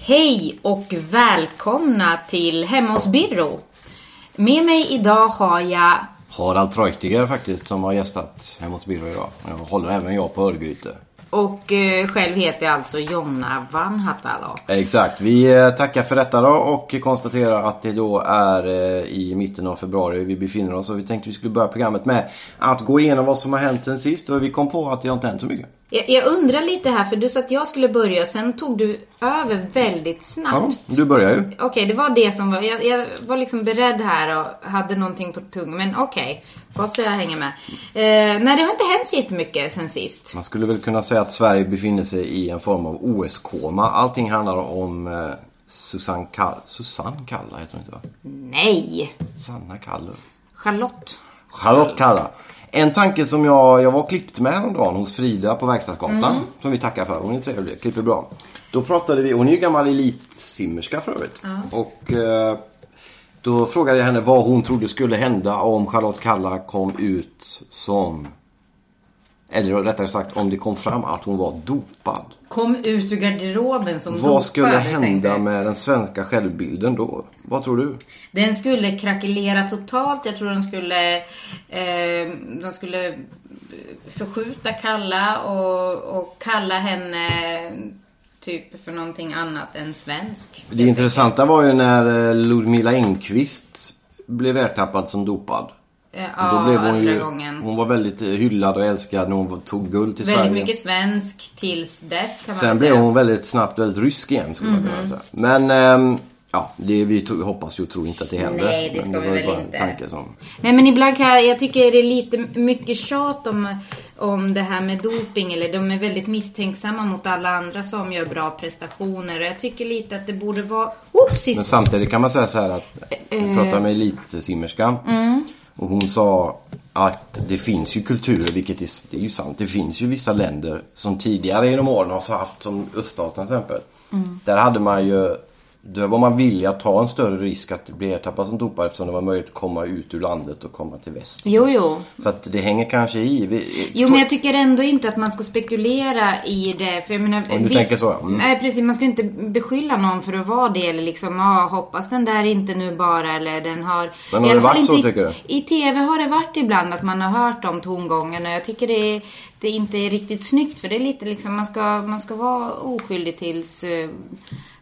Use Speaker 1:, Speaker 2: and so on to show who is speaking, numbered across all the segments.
Speaker 1: Hej och välkomna till Hemma hos Birro. Med mig idag har jag
Speaker 2: Harald Treutiger faktiskt som har gästat hemma hos Birro idag. Jag håller även jag på Örgryte.
Speaker 1: och eh, själv heter jag alltså Jonna Vanhatalo.
Speaker 2: Exakt. Vi eh, tackar för detta då och konstaterar att det då är eh, i mitten av februari vi befinner oss. Och vi tänkte vi skulle börja programmet med att gå igenom vad som har hänt sen sist. Och vi kom på att det har inte hänt så mycket.
Speaker 1: Jag, jag undrar lite här för du sa att jag skulle börja sen tog du över väldigt
Speaker 2: Ja,
Speaker 1: snabbt.
Speaker 2: du börjar ju.
Speaker 1: Okej, det var det som var. Jag, jag var liksom beredd här och hade någonting på tungan. Men okej, vad så jag hänger med. Eh, nej, det har inte hänt så jättemycket sen sist.
Speaker 2: Man skulle väl kunna säga att Sverige befinner sig i en form av OS-koma. Allting handlar om eh, Susanne Kall... Susanne Kalla heter hon inte va?
Speaker 1: Nej!
Speaker 2: Sanna Kallur.
Speaker 1: Charlotte.
Speaker 2: Charlotte Kalla. En tanke som jag, jag var och klippte med häromdagen hos Frida på Verkstadsgatan.
Speaker 1: Mm.
Speaker 2: Som vi tackar för. Hon är trevlig, klipper bra. Då pratade vi, hon är ju gammal elitsimmerska för övrigt. Och eh, då frågade jag henne vad hon trodde skulle hända om Charlotte Kalla kom ut som eller rättare sagt om det kom fram att hon var dopad.
Speaker 1: Kom ut ur garderoben som
Speaker 2: Vad skulle
Speaker 1: dopad, tänkte
Speaker 2: hända
Speaker 1: jag.
Speaker 2: med den svenska självbilden då? Vad tror du?
Speaker 1: Den skulle krackelera totalt. Jag tror den skulle, eh, de skulle förskjuta Kalla och, och kalla henne typ för någonting annat än svensk.
Speaker 2: Det intressanta var ju när eh, Ludmila Engqvist blev ertappad som dopad.
Speaker 1: Eh,
Speaker 2: Och
Speaker 1: ja, andra gången.
Speaker 2: Hon var väldigt eh, hyllad och älskad när hon tog guld till
Speaker 1: Väldigt
Speaker 2: Sverige.
Speaker 1: mycket svensk tills dess kan man Mhm.
Speaker 2: Sen
Speaker 1: väl
Speaker 2: blev
Speaker 1: säga.
Speaker 2: hon väldigt snabbt väldigt rysk igen skulle man kunna säga. Men ehm, ja, det, vi tog, hoppas ju och tror inte att det händer.
Speaker 1: Nej, det ska
Speaker 2: Men
Speaker 1: vi
Speaker 2: var ju
Speaker 1: väl
Speaker 2: bara en
Speaker 1: inte.
Speaker 2: Tanke som...
Speaker 1: Nej men ibland kan jag, jag tycker det är lite mycket tjat om, om det här med doping. Eller de är väldigt misstänksamma mot alla andra som gör bra prestationer. Och jag tycker lite att det borde vara... Oops,
Speaker 2: Men
Speaker 1: sist.
Speaker 2: samtidigt kan man säga så här att
Speaker 1: Eh,
Speaker 2: vi pratade med elitsimmerskan
Speaker 1: Mm.
Speaker 2: och hon sa att det finns ju kulturer, vilket är, det är ju sant, det finns ju vissa länder som tidigare genom åren har så haft som öststaterna till exempel.
Speaker 1: Mm.
Speaker 2: Där hade man ju, där var man villig att ta en större risk att bli ertappad som dopare eftersom det var möjligt att komma ut ur landet och komma till väst.
Speaker 1: Jo, jo.
Speaker 2: Så att det hänger kanske i. Vi,
Speaker 1: Jo men jag tycker ändå inte att man ska spekulera i det. För jag menar,
Speaker 2: Om du tänker så, ja. Mm.
Speaker 1: Nej precis, man ska inte beskylla någon för att vara det. Eller liksom, ah, hoppas den där inte nu bara. Eller den har...
Speaker 2: Men har
Speaker 1: I alla fall
Speaker 2: det varit så,
Speaker 1: inte i-
Speaker 2: tycker du?
Speaker 1: I TV har det varit ibland att man har hört de tongångarna. Jag tycker det, är- det inte är riktigt snyggt. För det är lite liksom, man ska, man ska vara oskyldig tills... eh,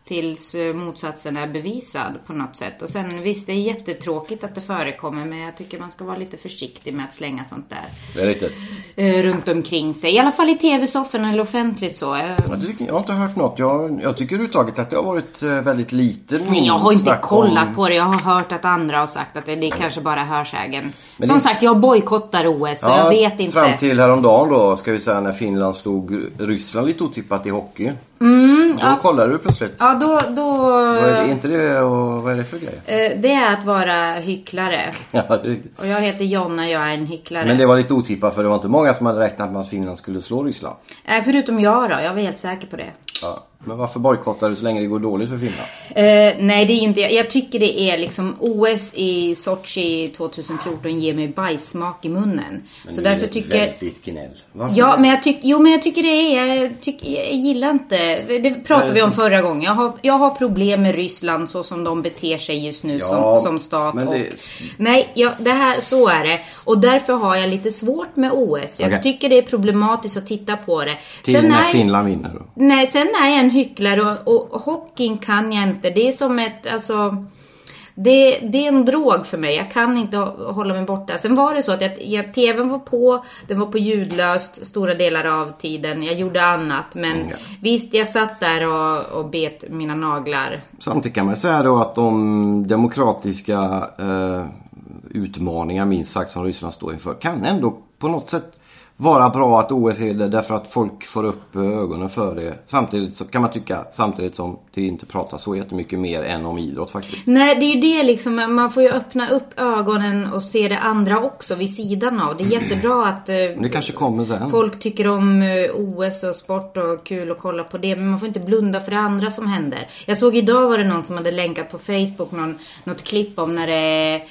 Speaker 1: Tills eh, motsatsen är bevisad på något sätt. Och sen visst, det är jättetråkigt att det förekommer men jag tycker man ska vara lite försiktig med att slänga sånt där
Speaker 2: det är riktigt.
Speaker 1: eh, runt omkring sig. I alla fall i tv-soffan eller offentligt så. Eh,
Speaker 2: Jag, tycker, jag har inte hört något. Jag, jag tycker överhuvudtaget att det har varit eh, väldigt lite
Speaker 1: Men jag har inte
Speaker 2: snack om-
Speaker 1: kollat på det. Jag har hört att andra har sagt att det, det är kanske bara hörsägen.
Speaker 2: Men
Speaker 1: Som
Speaker 2: det-
Speaker 1: sagt, jag bojkottar OS så jag vet inte.
Speaker 2: Fram till häromdagen då, ska vi säga, när Finland slog Ryssland lite otippat i hockey. då kollar du plötsligt.
Speaker 1: Mm, Ja, då... då
Speaker 2: Vad är det, inte det och vad är det för grej?
Speaker 1: eh, det är att vara hycklare.
Speaker 2: Ja, det är riktigt.
Speaker 1: Och jag heter Jonna, jag är en hycklare.
Speaker 2: Men det var lite otippat för det var inte många som hade räknat med att Finland skulle slå Ryssland.
Speaker 1: Eh, förutom jag då, jag var helt säker på det.
Speaker 2: Ja. Men varför bojkottar du så länge det går dåligt för Finland?
Speaker 1: Eh, nej, det är ju inte... Jag, jag tycker det är liksom OS i Sochi 2014 ger mig bajssmak i munnen. så
Speaker 2: Nu är
Speaker 1: därför
Speaker 2: det
Speaker 1: tycker...
Speaker 2: Väldigt gnäll. Varför?
Speaker 1: Ja, men jag, tyck, jo, men jag tycker det är... Jag, tyck, jag gillar inte... Det pratade vi om förra gången. Jag har, jag har problem med Ryssland så som de beter sig just nu
Speaker 2: Ja,
Speaker 1: som, som stat.
Speaker 2: men det-
Speaker 1: Och, nej, ja, det här, så är det. Och därför har jag lite svårt med OS. Jag
Speaker 2: Okej.
Speaker 1: tycker det är problematiskt att titta på det.
Speaker 2: Till när
Speaker 1: är-
Speaker 2: Finland vinner då.
Speaker 1: Nej, sen är jag en hycklare och, och hockeyn kan jag inte. Det är som ett, alltså... Det, det är en drog för mig. Jag kan inte hå- hålla mig borta. Sen var det så att jag, jag, tvn var på, den var på ljudlöst stora delar av tiden. Jag gjorde annat. Men
Speaker 2: ja.
Speaker 1: visst, jag satt där och, och bet mina naglar.
Speaker 2: Samtidigt kan man säga då att de demokratiska eh, utmaningar minst sagt som Ryssland står inför kan ändå på något sätt vara bra att OS är det därför att folk får upp eh, ögonen för det. Samtidigt så kan man tycka, samtidigt som det inte pratas så jättemycket mer än om idrott faktiskt.
Speaker 1: Nej, det är ju det liksom. Man får ju öppna upp ögonen och se det andra också vid sidan av. Det är jättebra att eh,
Speaker 2: Men det kanske kommer sen.
Speaker 1: folk tycker om eh, OS och sport och kul att kolla på det. Men man får inte blunda för det andra som händer. Jag såg idag var det någon som hade länkat på Facebook någon, något klipp om när det är eh,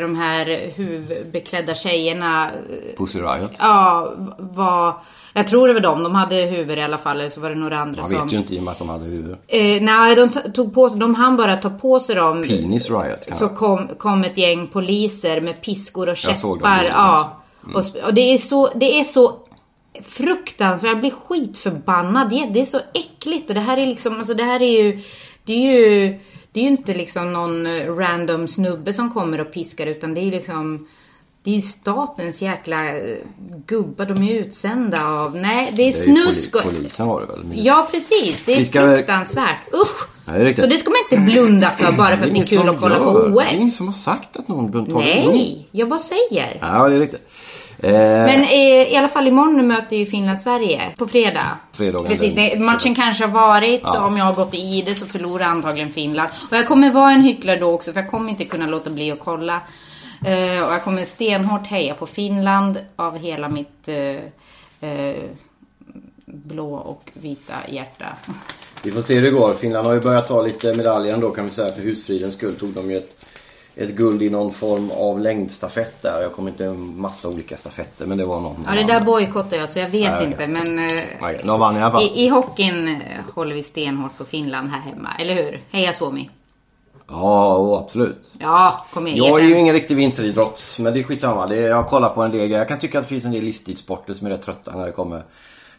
Speaker 1: de här huvudbeklädda tjejerna eh,
Speaker 2: Pussy Riot.
Speaker 1: Ja, var... Jag tror det var dem. De hade huvud i alla fall. Eller så var det några andra
Speaker 2: Man
Speaker 1: som...
Speaker 2: vet ju inte i och med att de hade huvud.
Speaker 1: Eh, nej, de t- tog på sig... De hann bara ta på sig dem.
Speaker 2: Penis Riot kan
Speaker 1: Så
Speaker 2: jag.
Speaker 1: kom, kom ett gäng poliser med piskor och
Speaker 2: Jag såg dem liksom.
Speaker 1: käppar.
Speaker 2: nyligen
Speaker 1: Ja. Och, sp- och det är så, det är så fruktansvärt. Jag blir skitförbannad. Det, det är så äckligt. Och det här är liksom, alltså det här är ju, det är ju, det är ju inte liksom någon eh, random snubbe som kommer och piskar utan det är ju liksom det är ju statens jäkla eh, gubbar, de är ju utsända av... Nej, det är,
Speaker 2: Det är ju
Speaker 1: snusk
Speaker 2: poli-
Speaker 1: och...
Speaker 2: Polisen var det väl? Men-
Speaker 1: Ja, precis. Det är
Speaker 2: Vi ska-
Speaker 1: fruktansvärt. Usch!
Speaker 2: Nej, det är riktigt. Mm.
Speaker 1: så det ska man inte blunda för bara för att det är
Speaker 2: ingen
Speaker 1: kul
Speaker 2: som
Speaker 1: att kolla på
Speaker 2: gör. Det är ingen
Speaker 1: OS.
Speaker 2: som Äh. har sagt att någon tagit blod.
Speaker 1: Nej, jag bara säger.
Speaker 2: Ja, det är riktigt. Eh,
Speaker 1: Men eh, i alla fall imorgon nu möter ju Finland Sverige på fredag.
Speaker 2: Fredagen
Speaker 1: Precis,
Speaker 2: den-
Speaker 1: det, matchen kanske har varit så om jag har gått i det så förlorar antagligen Finland. Och jag kommer vara en hycklare då också för jag kommer inte kunna låta bli att kolla. Eh, och jag kommer stenhårt heja på Finland av hela mitt eh, eh, blå och vita hjärta.
Speaker 2: Vi får se hur det går. Finland har ju börjat ta lite medaljer ändå kan vi säga. För husfridens skull tog de ju ett, ett guld i någon form av längdstafett där. Jag kommer inte ihåg en massa olika stafetter men det var någon.
Speaker 1: Ja, det där bojkottar jag så jag vet
Speaker 2: okej.
Speaker 1: inte men eh,
Speaker 2: Nej, De vann i alla fall.
Speaker 1: I, I hockeyn eh, håller vi stenhårt på Finland här hemma, eller hur? Heja Suomi!
Speaker 2: Ja, åh, absolut.
Speaker 1: Ja, kom igen.
Speaker 2: Jag är ju
Speaker 1: erkänn.
Speaker 2: ingen riktig vinteridrott, men det är skitsamma. Det är, jag kollar på en del grejer. Jag kan tycka att det finns en del livstidssporter som är rätt trötta när det kommer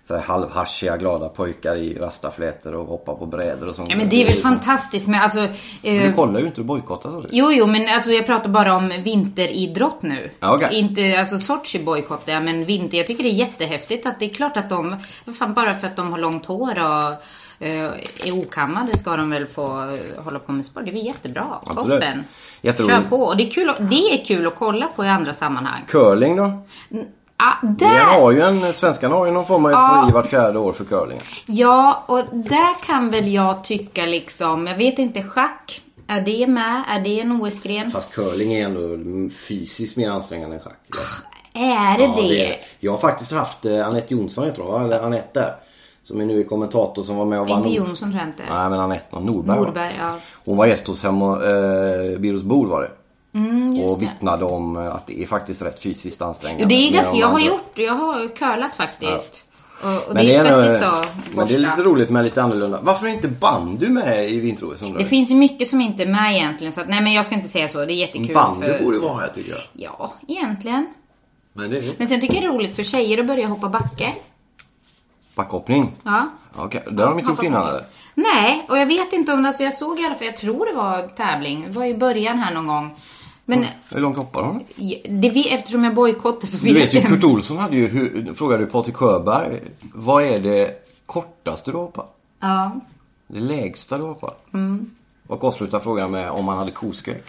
Speaker 2: så här halvhaschiga glada pojkar i rastaflätor och hoppar på brädor och sånt.
Speaker 1: Ja, men det är väl fantastiskt med alltså...
Speaker 2: Men
Speaker 1: Eh,
Speaker 2: du kollar ju inte, du bojkottar sa du.
Speaker 1: jo, jo, men alltså jag pratar bara om vinteridrott nu.
Speaker 2: Ja, okej.
Speaker 1: Inte, alltså Sochi bojkottar jag, men vinter. Jag tycker det är jättehäftigt att det är klart att de, vad fan, bara för att de har långt hår och eh, är okammade ska de väl få eh, hålla på med sport. Det är väl jättebra.
Speaker 2: Absolut.
Speaker 1: Toppen.
Speaker 2: Jätteroligt.
Speaker 1: Kör på. Och det är, kul, att- det är kul att kolla på i andra sammanhang.
Speaker 2: Curling då?
Speaker 1: Ah,
Speaker 2: Det
Speaker 1: där!
Speaker 2: har ju en, svenskarna har ju någon form av
Speaker 1: Ja.
Speaker 2: eufori vart fjärde år för curling.
Speaker 1: Ja, och där kan väl jag tycka liksom, jag vet inte, schack, är det med? Är det en OS-gren?
Speaker 2: Fast curling är ändå fysiskt mer ansträngande än schack. Ja.
Speaker 1: Är det
Speaker 2: Ja,
Speaker 1: det?
Speaker 2: är Jag har faktiskt haft eh, Anette Jonsson heter hon va? Eller Anette där. Som är nu är kommentator som var med och vann
Speaker 1: Inte
Speaker 2: Nord-
Speaker 1: Jonsson tror jag inte.
Speaker 2: Nej men Anette Nordberg. va?
Speaker 1: Nordberg, ja.
Speaker 2: Hon var gäst hos hemma, eh, Birros Bol var det.
Speaker 1: Mm, just
Speaker 2: och
Speaker 1: det.
Speaker 2: vittnade om eh, att det är faktiskt rätt fysiskt ansträngande.
Speaker 1: Jo, det är
Speaker 2: Men
Speaker 1: ganska,
Speaker 2: de
Speaker 1: jag har
Speaker 2: andra-
Speaker 1: gjort, jag har curlat faktiskt. Och, och
Speaker 2: Men
Speaker 1: det är svettigt
Speaker 2: nog-
Speaker 1: att
Speaker 2: Men det
Speaker 1: borsta.
Speaker 2: är lite roligt men lite annorlunda. Varför är inte bandy med i vinter-OS undrar
Speaker 1: Det
Speaker 2: jag?
Speaker 1: finns ju mycket som inte är med egentligen så att, nej men jag ska inte säga så, det är jättekul.
Speaker 2: Bandy
Speaker 1: för-
Speaker 2: borde vara här tycker jag.
Speaker 1: Ja, egentligen.
Speaker 2: Men det är ju-
Speaker 1: Men sen tycker jag det är roligt för tjejer att börja hoppa backe.
Speaker 2: Backhoppning.
Speaker 1: Ja.
Speaker 2: Okej, det har de inte gjort
Speaker 1: Hoppa
Speaker 2: innan
Speaker 1: backe.
Speaker 2: eller?
Speaker 1: Nej, och jag vet inte om det, alltså jag såg i alla fall, jag tror det var tävling, det var i början här någon gång. Men
Speaker 2: Hur långt hoppar de?
Speaker 1: det, vi- eftersom jag bojkottar så
Speaker 2: Du vet ju
Speaker 1: jag
Speaker 2: Kurt Olsson hade ju, hur, frågade ju Patrik Sjöberg. Vad är det kortaste du har hoppat?
Speaker 1: Ja.
Speaker 2: Det lägsta du har hoppat? Och avsluta frågan med om han hade koskräck.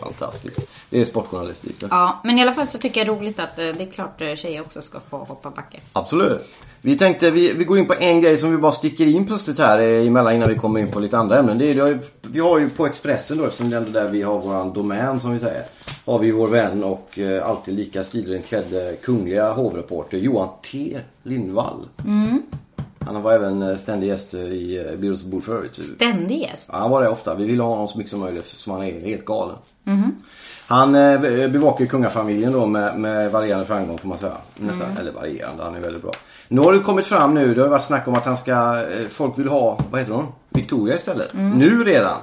Speaker 2: Fantastiskt. Det är sportjournalistik. det.
Speaker 1: ja, men i alla fall så tycker jag det är roligt att eh, det är klart eh, tjejer också ska få hoppa backe.
Speaker 2: Absolut. Vi tänkte, vi, vi går in på en grej som vi bara sticker in plötsligt här eh, emellan innan vi kommer in på lite andra ämnen. Det är, det har ju, vi har ju på Expressen då, eftersom det är ändå där vi har våran domän som vi säger. Har vi vår vän och eh, alltid lika stilrent klädde eh, kungliga hovreporter Johan T Lindvall. Han var även eh, ständig gäst eh, i eh, Byråns bord för övrigt.
Speaker 1: Ständig gäst.
Speaker 2: Ja, han var det ofta. Vi ville ha honom så mycket som möjligt eftersom han är helt galen. Han eh, bevakar ju kungafamiljen då med, med varierande framgång får man säga. Nästan, Eller varierande, han är väldigt bra. Nu har det kommit fram nu, det har ju varit snack om att han ska, eh, folk vill ha, vad heter hon? Victoria istället. Nu redan.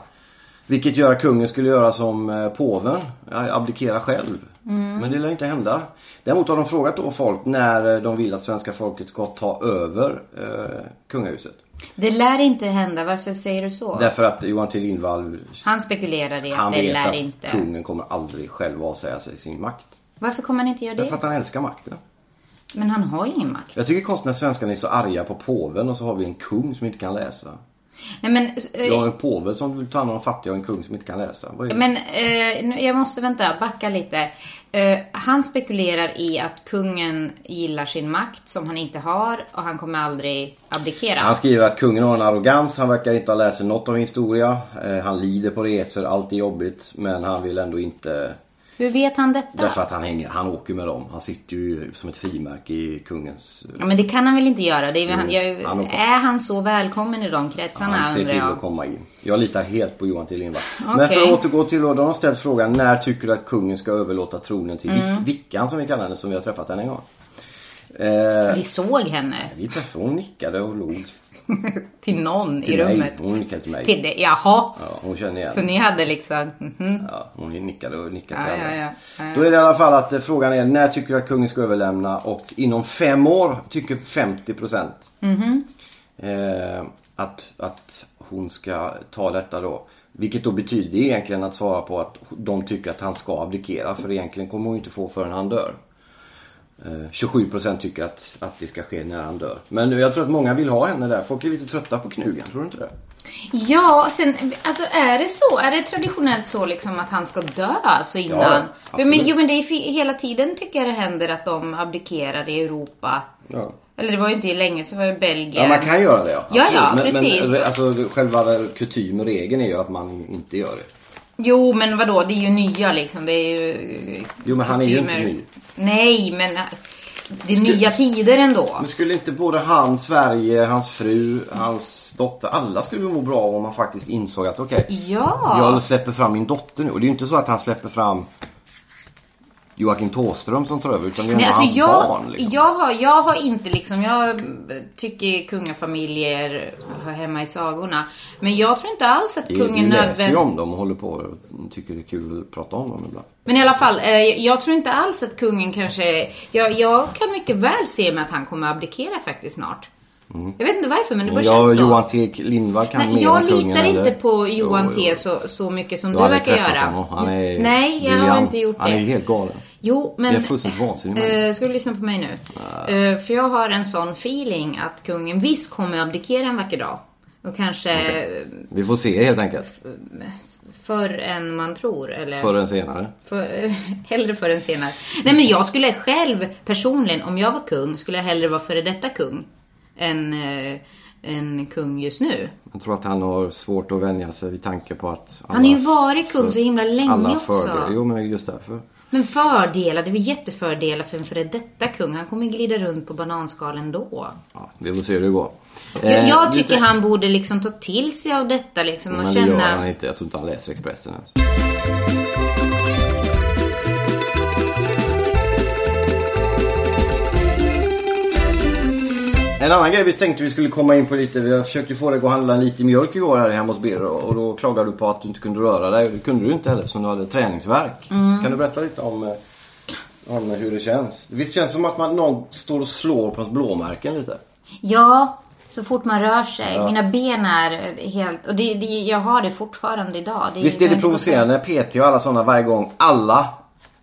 Speaker 2: Vilket gör att kungen skulle göra som eh, påven, eh, abdikera själv. Men det lär inte hända. Däremot har de frågat då folk när eh, de vill att svenska folket ska ta över eh, kungahuset.
Speaker 1: Det lär inte hända. Varför säger du så?
Speaker 2: Därför att Johan T Lindvall,
Speaker 1: Han spekulerar i att
Speaker 2: han
Speaker 1: det
Speaker 2: vet
Speaker 1: lär
Speaker 2: att
Speaker 1: inte.
Speaker 2: kungen kommer aldrig själv avsäga sig sin makt.
Speaker 1: Varför kommer han inte göra
Speaker 2: Därför
Speaker 1: det?
Speaker 2: att han älskar makten.
Speaker 1: Men han har ingen makt.
Speaker 2: Jag tycker konstiga svenskarna är så arga på påven och så har vi en kung som inte kan läsa.
Speaker 1: Nej, men, eh,
Speaker 2: Jag har en påve som vill ta hand om de fattiga och en kung som inte kan läsa. Vad är det?
Speaker 1: Men eh, nu- jag måste vänta, backa lite. Eh, han spekulerar i att kungen gillar sin makt som han inte har och han kommer aldrig abdikera.
Speaker 2: Han skriver att kungen har en arrogans, han verkar inte ha lärt sig något av historia. Eh, Han lider på resor, allt är jobbigt. Men han vill ändå inte...
Speaker 1: Hur vet han detta?
Speaker 2: Därför att han, hänger, han åker med dem. Han sitter ju som ett frimärke i kungens...
Speaker 1: Ja, men det kan han väl inte göra? Det är, väl han,
Speaker 2: Jo,
Speaker 1: jag,
Speaker 2: Mm. han åker.
Speaker 1: är han så välkommen i de kretsarna
Speaker 2: Han ser
Speaker 1: undrar
Speaker 2: till
Speaker 1: jag?
Speaker 2: att komma in. Jag litar helt på Johan T Lindvall. Men
Speaker 1: Okej.
Speaker 2: för att återgå till då, de har ställt frågan när tycker du att kungen ska överlåta tronen till
Speaker 1: Mm.
Speaker 2: Vic- Vickan som vi kallar henne som vi har träffat henne en gång. Eh,
Speaker 1: Vi såg henne
Speaker 2: vi träffade hon nickade och log
Speaker 1: till någon
Speaker 2: till
Speaker 1: i
Speaker 2: mig.
Speaker 1: rummet.
Speaker 2: Hon nickade till mig.
Speaker 1: Till det, jaha.
Speaker 2: Ja, hon känner igen
Speaker 1: Så ni hade liksom... mhm.
Speaker 2: Ja, hon nickade och nickade
Speaker 1: Ja,
Speaker 2: till alla.
Speaker 1: ja, ja. Ja, ja.
Speaker 2: Då är det i alla fall att eh, frågan är när tycker du att kungen ska överlämna och inom fem år tycker 50 procent
Speaker 1: Mm-hmm.
Speaker 2: eh, att, att hon ska ta detta då. Vilket då betyder egentligen att svara på att de tycker att han ska abdikera för egentligen kommer hon ju inte få förrän han dör. Eh, 27 procent tycker att, att det ska ske när han dör. Men jag tror att många vill ha henne där. Folk är lite trötta på knugen, tror du inte det?
Speaker 1: Ja, sen, alltså är det så? Är det traditionellt så liksom att han ska dö alltså innan?
Speaker 2: Ja,
Speaker 1: men,
Speaker 2: absolut.
Speaker 1: jo, men det är fi- hela tiden tycker jag det händer att de abdikerar i Europa.
Speaker 2: Ja.
Speaker 1: Eller det var ju inte länge så var ju Belgien.
Speaker 2: Ja, man kan göra det. Ja,
Speaker 1: Ja, ja,
Speaker 2: Absolut. men,
Speaker 1: precis.
Speaker 2: Men, alltså, själva kutym och regeln är ju att man inte gör det.
Speaker 1: Jo, men vadå? Det är ju nya liksom. Det är ju...
Speaker 2: Jo, men han är ju inte
Speaker 1: kutymer.
Speaker 2: ny.
Speaker 1: Nej, men äh, det är nya tider ändå.
Speaker 2: Men skulle inte både han, Sverige, hans fru, hans dotter, alla skulle må bra om man faktiskt insåg att okej,
Speaker 1: Ja.
Speaker 2: jag släpper fram min dotter nu. Och det är ju inte så att han släpper fram Joakim Thåström som tar över utan det är ändå hans
Speaker 1: alltså jag,
Speaker 2: barn. Liksom.
Speaker 1: jag, har, jag har inte liksom, jag eh, tycker kungafamiljer hör hemma i sagorna. Men jag tror inte alls att
Speaker 2: Vi- vi
Speaker 1: kungen
Speaker 2: läser ju
Speaker 1: nödvändigt...
Speaker 2: om dem och håller på och tycker det är kul att prata om dem ibland.
Speaker 1: Men i alla fall, eh, jag tror inte alls att kungen kanske... Jag, jag kan mycket väl se mig att han kommer att abdikera faktiskt snart. Jag vet inte varför men det bara
Speaker 2: Jag,
Speaker 1: känns så.
Speaker 2: Mm. Johan T Lindvall kan
Speaker 1: Nej,
Speaker 2: mer
Speaker 1: jag
Speaker 2: om kungen.
Speaker 1: litar inte
Speaker 2: eller?
Speaker 1: på Johan
Speaker 2: Jo,
Speaker 1: T
Speaker 2: jo.
Speaker 1: så, så mycket som
Speaker 2: Du
Speaker 1: du,
Speaker 2: har aldrig
Speaker 1: verkar
Speaker 2: träffat
Speaker 1: göra.
Speaker 2: honom. Han är
Speaker 1: Nej, jag har
Speaker 2: briljant.
Speaker 1: inte gjort
Speaker 2: Han
Speaker 1: det.
Speaker 2: är helt galen.
Speaker 1: Jo, men...
Speaker 2: Jag är fullständigt vansinnig med
Speaker 1: Eh, ska du lyssna på mig nu? Eh, för jag har en sån feeling att kungen visst kommer abdikera en vacker dag. Och kanske
Speaker 2: Vi får se helt enkelt.
Speaker 1: förr än man tror. Eller
Speaker 2: Förr än senare.
Speaker 1: för, hellre förr än senare. Nej men jag skulle själv personligen, om jag var kung, skulle jag hellre vara före detta kung. Än, eh, än kung just nu.
Speaker 2: Jag tror att han har svårt att vänja sig vid tanke på att alla,
Speaker 1: Han har ju varit kung så himla länge
Speaker 2: alla
Speaker 1: också.
Speaker 2: fördelar. Jo men det är just därför.
Speaker 1: Men fördelar, det var jättefördelar för en före detta kung. Han kommer glida runt på bananskalen då.
Speaker 2: Ja, vi får se hur det går.
Speaker 1: Jag,
Speaker 2: Eh,
Speaker 1: jag
Speaker 2: lite-
Speaker 1: tycker han borde liksom ta till sig av detta liksom och
Speaker 2: Men det gör han
Speaker 1: känna...
Speaker 2: inte. Jag tror inte han läser Expressen ens. En annan grej vi tänkte vi skulle komma in på lite. Vi försökte ju få dig att gå och handla lite mjölk igår här hemma hos Birro. Och då klagade du på att du inte kunde röra dig. Och Det kunde du inte heller eftersom du hade träningsvärk. Kan du berätta lite om, eh, om hur det känns? Visst känns det som att man, någon står och slår på ens blåmärken lite?
Speaker 1: Ja, så fort man rör sig. Mina ben är eh, helt... Och det, det, jag har det fortfarande idag. Det,
Speaker 2: Visst
Speaker 1: jag har
Speaker 2: är det
Speaker 1: inte gått upp.
Speaker 2: provocerande när PT och alla sådana varje gång alla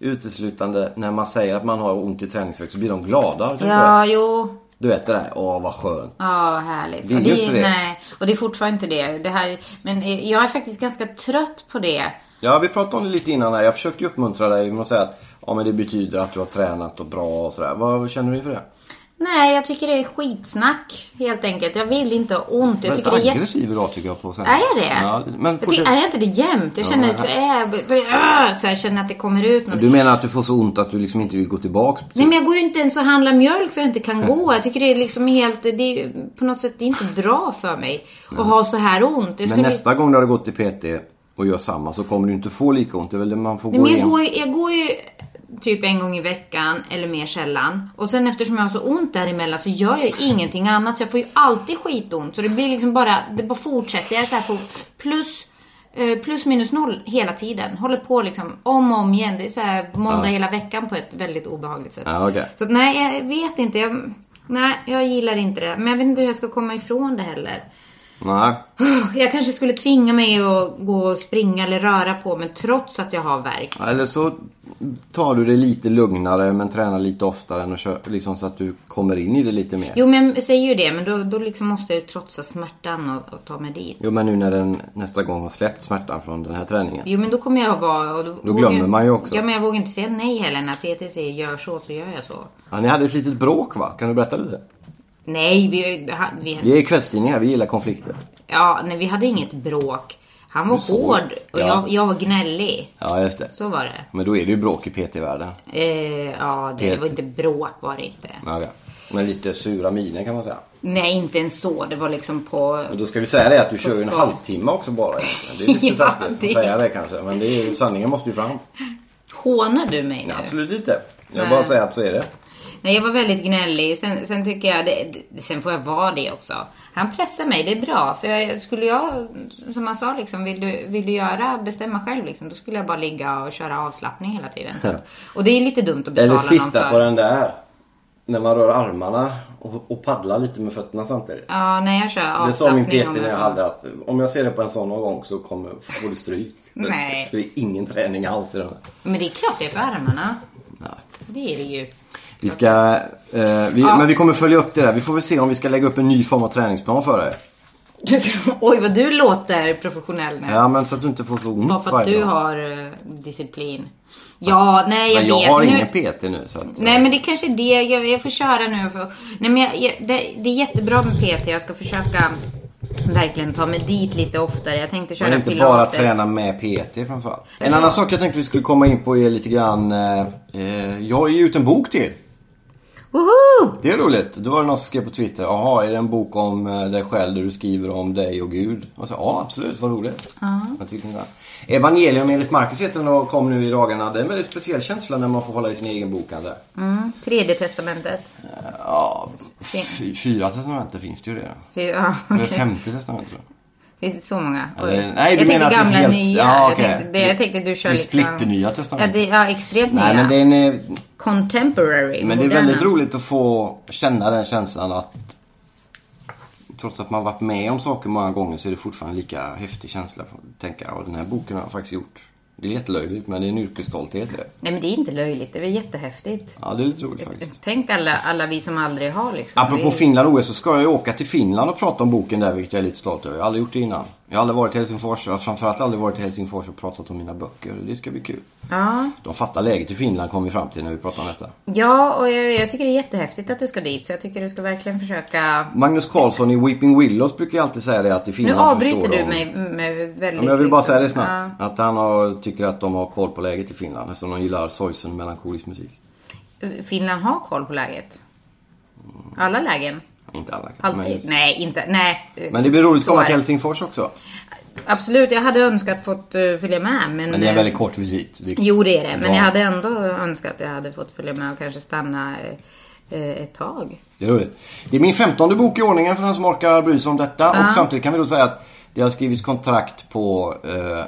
Speaker 2: uteslutande när man säger att man har ont i träningsvärk så blir de glada. Tänker du
Speaker 1: Ja,
Speaker 2: det?
Speaker 1: jo.
Speaker 2: Du vet det där, åh vad skönt.
Speaker 1: Ja, härligt.
Speaker 2: Det är
Speaker 1: Och
Speaker 2: ju inte det.
Speaker 1: Nej, och det är fortfarande inte det. det här, men eh, jag är faktiskt ganska trött på det.
Speaker 2: Ja vi pratade om det lite innan här. Jag försökte ju uppmuntra dig med att säga att ja, men det betyder att du har tränat och bra och sådär. Vad känner du för det?
Speaker 1: Nej, jag tycker det är skitsnack helt enkelt. Jag vill inte ha ont. Jag
Speaker 2: Väldigt
Speaker 1: tycker det är jätte...
Speaker 2: aggressiv idag tycker jag på sen.
Speaker 1: Är det?
Speaker 2: Ja, men
Speaker 1: jag tycker,
Speaker 2: fortsätt.
Speaker 1: är jag inte det jämt? Jag känner, så, äh, så här, känner att det kommer ut något.
Speaker 2: Du menar att du får så ont att du liksom inte vill gå tillbaks?
Speaker 1: Nej men jag går ju inte ens och handlar mjölk för jag inte kan gå. Jag tycker det är liksom helt, det är ju på något sätt det är inte bra för mig att ha så här ont. Jag
Speaker 2: Men
Speaker 1: skulle,
Speaker 2: nästa gång du har gått till PT och gör samma så kommer du inte få lika ont. Det är väl det man får
Speaker 1: Nej,
Speaker 2: gå
Speaker 1: men jag
Speaker 2: igenom.
Speaker 1: går, ju- jag går ju typ en gång i veckan eller mer sällan. Och sen eftersom jag har så ont däremellan så gör jag ju ingenting annat. Så jag får ju alltid skitont. Så det blir liksom bara, det bara fortsätter. Jag är så här på plus, eh, plus minus noll hela tiden. Håller på liksom om och om igen. Det är så här måndag hela veckan på ett väldigt obehagligt sätt.
Speaker 2: Ja, okej.
Speaker 1: Så att, nej, jag vet inte. Jag, Nej, jag gillar inte det. Men jag vet inte hur jag ska komma ifrån det heller.
Speaker 2: Nej.
Speaker 1: Jag kanske skulle tvinga mig att gå och springa eller röra på mig trots att jag har värk.
Speaker 2: Eller så tar du det lite lugnare men tränar lite oftare än att köra, liksom så att du kommer in i det lite mer.
Speaker 1: Jo, men jag säger ju det, men då, då liksom måste jag ju trotsa smärtan och, och ta mig dit.
Speaker 2: Jo men nu när den nästa gång har släppt smärtan från den här träningen.
Speaker 1: Jo, men då kommer jag vara... Och då, vågar
Speaker 2: glömmer
Speaker 1: jag-
Speaker 2: man ju också.
Speaker 1: Ja, men jag vågar inte säga nej heller. När PT säger gör så, så gör jag så.
Speaker 2: Ja, ni hade ett litet bråk va? Kan du berätta lite?
Speaker 1: Nej, vi, han- vi,
Speaker 2: Vi är kvällstidning här, vi gillar konflikter.
Speaker 1: ja, nej, vi hade inget bråk. Han var
Speaker 2: Du såg.
Speaker 1: hård och
Speaker 2: Ja.
Speaker 1: jag, jag var gnällig.
Speaker 2: Ja just det.
Speaker 1: Så var det.
Speaker 2: Men då är det ju bråk i PT-världen.
Speaker 1: Eh, ja, det,
Speaker 2: Helt-
Speaker 1: var inte bråk var det inte.
Speaker 2: Ja, ja. Men lite sura miner kan man säga.
Speaker 1: Nej, inte ens så. Det var liksom på...
Speaker 2: Men då ska vi säga det att du kör ju en
Speaker 1: skoj.
Speaker 2: halvtimme också bara egentligen. Det är lite
Speaker 1: Ja,
Speaker 2: taskigt
Speaker 1: det-
Speaker 2: att säga det kanske. Men det är ju, sanningen måste ju fram.
Speaker 1: Hånar du mig nu?
Speaker 2: Nej, absolut inte. Jag
Speaker 1: Nej.
Speaker 2: bara säger att så är det.
Speaker 1: Nej, jag var väldigt gnällig. Sen, sen tycker jag... Det, det- sen får jag vara det också. Han pressar mig, det är bra. För jag, skulle jag, som han sa, liksom, vill, du, vill du göra, bestämma själv. Liksom, då skulle jag bara ligga och köra avslappning hela tiden. Så att, och det är lite dumt att betala
Speaker 2: Eller
Speaker 1: någon
Speaker 2: sitta
Speaker 1: för.
Speaker 2: på den där. När man rör armarna och, och paddla lite med fötterna samtidigt.
Speaker 1: Ja, nej, jag kör
Speaker 2: Det sa min
Speaker 1: avslappning.
Speaker 2: PT
Speaker 1: om
Speaker 2: när jag
Speaker 1: får.
Speaker 2: hade att om jag ser det på en sån någon gång så kommer, får du stryk.
Speaker 1: Nej.
Speaker 2: För det är ingen träning alls i den här.
Speaker 1: Men det är klart det är för armarna. Det är det ju.
Speaker 2: Vi ska, eh, vi, men vi kommer följa upp det där. Vi får väl se om vi ska lägga upp en ny form av träningsplan för dig.
Speaker 1: Oj, vad du låter professionell nu.
Speaker 2: Ja men så att du inte får så ont
Speaker 1: Bara för att
Speaker 2: varje
Speaker 1: du
Speaker 2: gång.
Speaker 1: har eh, disciplin. Ja, nej jag,
Speaker 2: Men jag
Speaker 1: vet.
Speaker 2: har
Speaker 1: nu...
Speaker 2: ingen PT nu så att,
Speaker 1: Nej men det kanske är det jag, jag får köra nu. För, nej, men jag, jag, det, det är jättebra med PT. Jag ska försöka verkligen ta mig dit lite oftare. Jag tänkte köra
Speaker 2: Men inte
Speaker 1: pilates.
Speaker 2: bara träna med PT framförallt. En annan sak jag tänkte vi skulle komma in på är lite grann... eh, Eh, jag har ju ut en bok till.
Speaker 1: Woho!
Speaker 2: Det är roligt. Då var det någon som skrev på Twitter. Jaha, är det en bok om eh, dig själv där du skriver om dig och Gud? Och så, ja, absolut. Vad roligt. Jag tyckte inte det. Evangelium enligt Markus heter den och kom nu i dagarna. Det är en väldigt speciell känsla när man får hålla i sin egen bokhandel.
Speaker 1: Mm, tredje testamentet.
Speaker 2: Ja, fy- fyra testamenten finns det ju redan.
Speaker 1: Fy- Ja,
Speaker 2: Eller
Speaker 1: okej.
Speaker 2: femte testamentet tror jag.
Speaker 1: Finns det så många? Oj.
Speaker 2: Eller- nej, du
Speaker 1: jag
Speaker 2: menar att
Speaker 1: tänkte
Speaker 2: det är
Speaker 1: gamla,
Speaker 2: helt-
Speaker 1: nya.
Speaker 2: ja, okej.
Speaker 1: jag, tänkte, det, jag tänkte du kör
Speaker 2: Det är
Speaker 1: liksom...
Speaker 2: splitternya testamentet.
Speaker 1: Ja, det, ja extremt
Speaker 2: Nej,
Speaker 1: nya.
Speaker 2: men det är en, eh,
Speaker 1: Contemporary.
Speaker 2: Men det är
Speaker 1: moderna.
Speaker 2: väldigt roligt att få känna den känslan att trots att man varit med om saker många gånger så är det fortfarande lika häftig känsla. Att tänka, ja den här boken har jag faktiskt gjort. Det är jättelöjligt men det är en yrkesstolthet i det.
Speaker 1: Nej men det är inte löjligt. Det är väl jättehäftigt.
Speaker 2: Ja det är lite roligt faktiskt.
Speaker 1: Tänk alla, alla vi som aldrig har liksom.
Speaker 2: Apropå
Speaker 1: vi...
Speaker 2: Finland och OS så ska jag ju åka till Finland och prata om boken där vilket jag är lite stolt över. Jag har aldrig gjort det innan. Jag har aldrig varit i Helsingfors, jag har framförallt aldrig varit i Helsingfors och pratat om mina böcker. Det ska bli kul.
Speaker 1: Ja.
Speaker 2: De fattar läget i Finland kom vi fram till när vi pratade om detta.
Speaker 1: Ja, och jag, jag tycker det är jättehäftigt att du ska dit. Så jag tycker du ska verkligen försöka.
Speaker 2: Magnus Carlsson i Weeping Willows brukar ju alltid säga det att i
Speaker 1: Nu
Speaker 2: Finland
Speaker 1: avbryter
Speaker 2: förstår
Speaker 1: du
Speaker 2: de-
Speaker 1: mig med väldigt...
Speaker 2: Ja, men jag vill bara
Speaker 1: liksom-
Speaker 2: säga det snabbt. Att han har, tycker att de har koll på läget i Finland eftersom de gillar sorgsen och melankolisk musik.
Speaker 1: Ja. Finland har koll på läget. Alla lägen.
Speaker 2: Inte alla kanske,
Speaker 1: Alltid.
Speaker 2: men, just-
Speaker 1: Nej, inte. Nej.
Speaker 2: men det blir roligt att
Speaker 1: Så
Speaker 2: komma
Speaker 1: är
Speaker 2: till
Speaker 1: det.
Speaker 2: Helsingfors också.
Speaker 1: Absolut, jag hade önskat fått eh, följa med. Men,
Speaker 2: Men det är en väldigt kort visit. Det-
Speaker 1: Jo, det är det. Men
Speaker 2: Ja.
Speaker 1: jag hade ändå önskat att jag hade fått följa med och kanske stanna eh, eh, ett tag.
Speaker 2: Det är roligt. Det är min femtonde bok i ordningen för den som orkar bry sig om detta. Och samtidigt kan vi då säga att det har skrivits kontrakt på eh, t-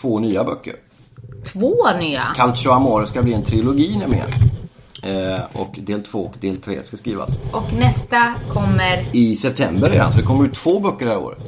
Speaker 2: två nya böcker.
Speaker 1: Två nya.
Speaker 2: Calcio Amore ska bli en trilogi nämligen. Eh, och del två och del tre ska skrivas.
Speaker 1: Och nästa kommer...
Speaker 2: I september redan, så det kommer ut två böcker det här året.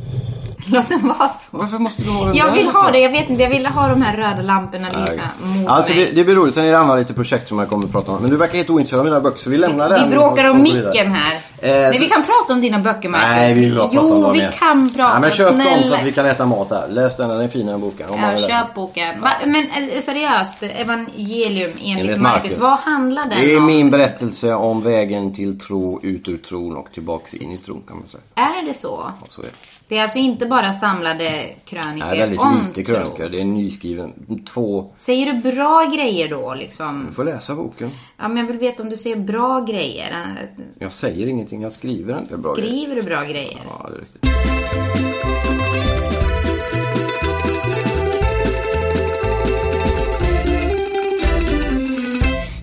Speaker 1: Låt den vara så.
Speaker 2: Varför måste du ha den
Speaker 1: Jag
Speaker 2: där
Speaker 1: vill
Speaker 2: för?
Speaker 1: ha det, jag vet inte. Jag ville ha de här röda lamporna lysa mot
Speaker 2: Alltså det,
Speaker 1: mig.
Speaker 2: det blir roligt. Sen är det andra lite projekt som jag kommer att prata om. Men du verkar helt ointresserad av mina böcker så vi lämnar den.
Speaker 1: Vi bråkar om
Speaker 2: och går vidare.
Speaker 1: micken här.
Speaker 2: Eh,
Speaker 1: Nej,
Speaker 2: så-
Speaker 1: vi kan prata om dina böcker Marcus.
Speaker 2: Nej, vi vill bara prata om
Speaker 1: Jo,
Speaker 2: dem
Speaker 1: vi
Speaker 2: igen.
Speaker 1: kan prata.
Speaker 2: Nej, men köp dem så
Speaker 1: snälla.
Speaker 2: att vi kan äta mat här. Läs den, den är finare än boken. Om man
Speaker 1: Ja,
Speaker 2: vill läsa.
Speaker 1: köp boken. Va, men eh, seriöst, evangelium enligt,
Speaker 2: Enligt
Speaker 1: Marcus.
Speaker 2: Marcus.
Speaker 1: Vad handlar den
Speaker 2: Det är
Speaker 1: om?
Speaker 2: min berättelse om vägen till tro, ut ur tron och tillbaks in i tron kan man säga.
Speaker 1: Är det så?
Speaker 2: Ja, Så är det.
Speaker 1: Det är alltså inte bara samlade
Speaker 2: det
Speaker 1: kröniker
Speaker 2: är väldigt
Speaker 1: om
Speaker 2: lite
Speaker 1: tro.
Speaker 2: krönikor. Det är nyskriven. Två...
Speaker 1: Säger du bra grejer då liksom?
Speaker 2: Du får läsa boken.
Speaker 1: Ja, men jag vill veta om du säger bra grejer. Eh,
Speaker 2: Jag säger ingenting, jag skriver inte bra grejer.
Speaker 1: Skriver du bra grejer?
Speaker 2: Ja, det är riktigt.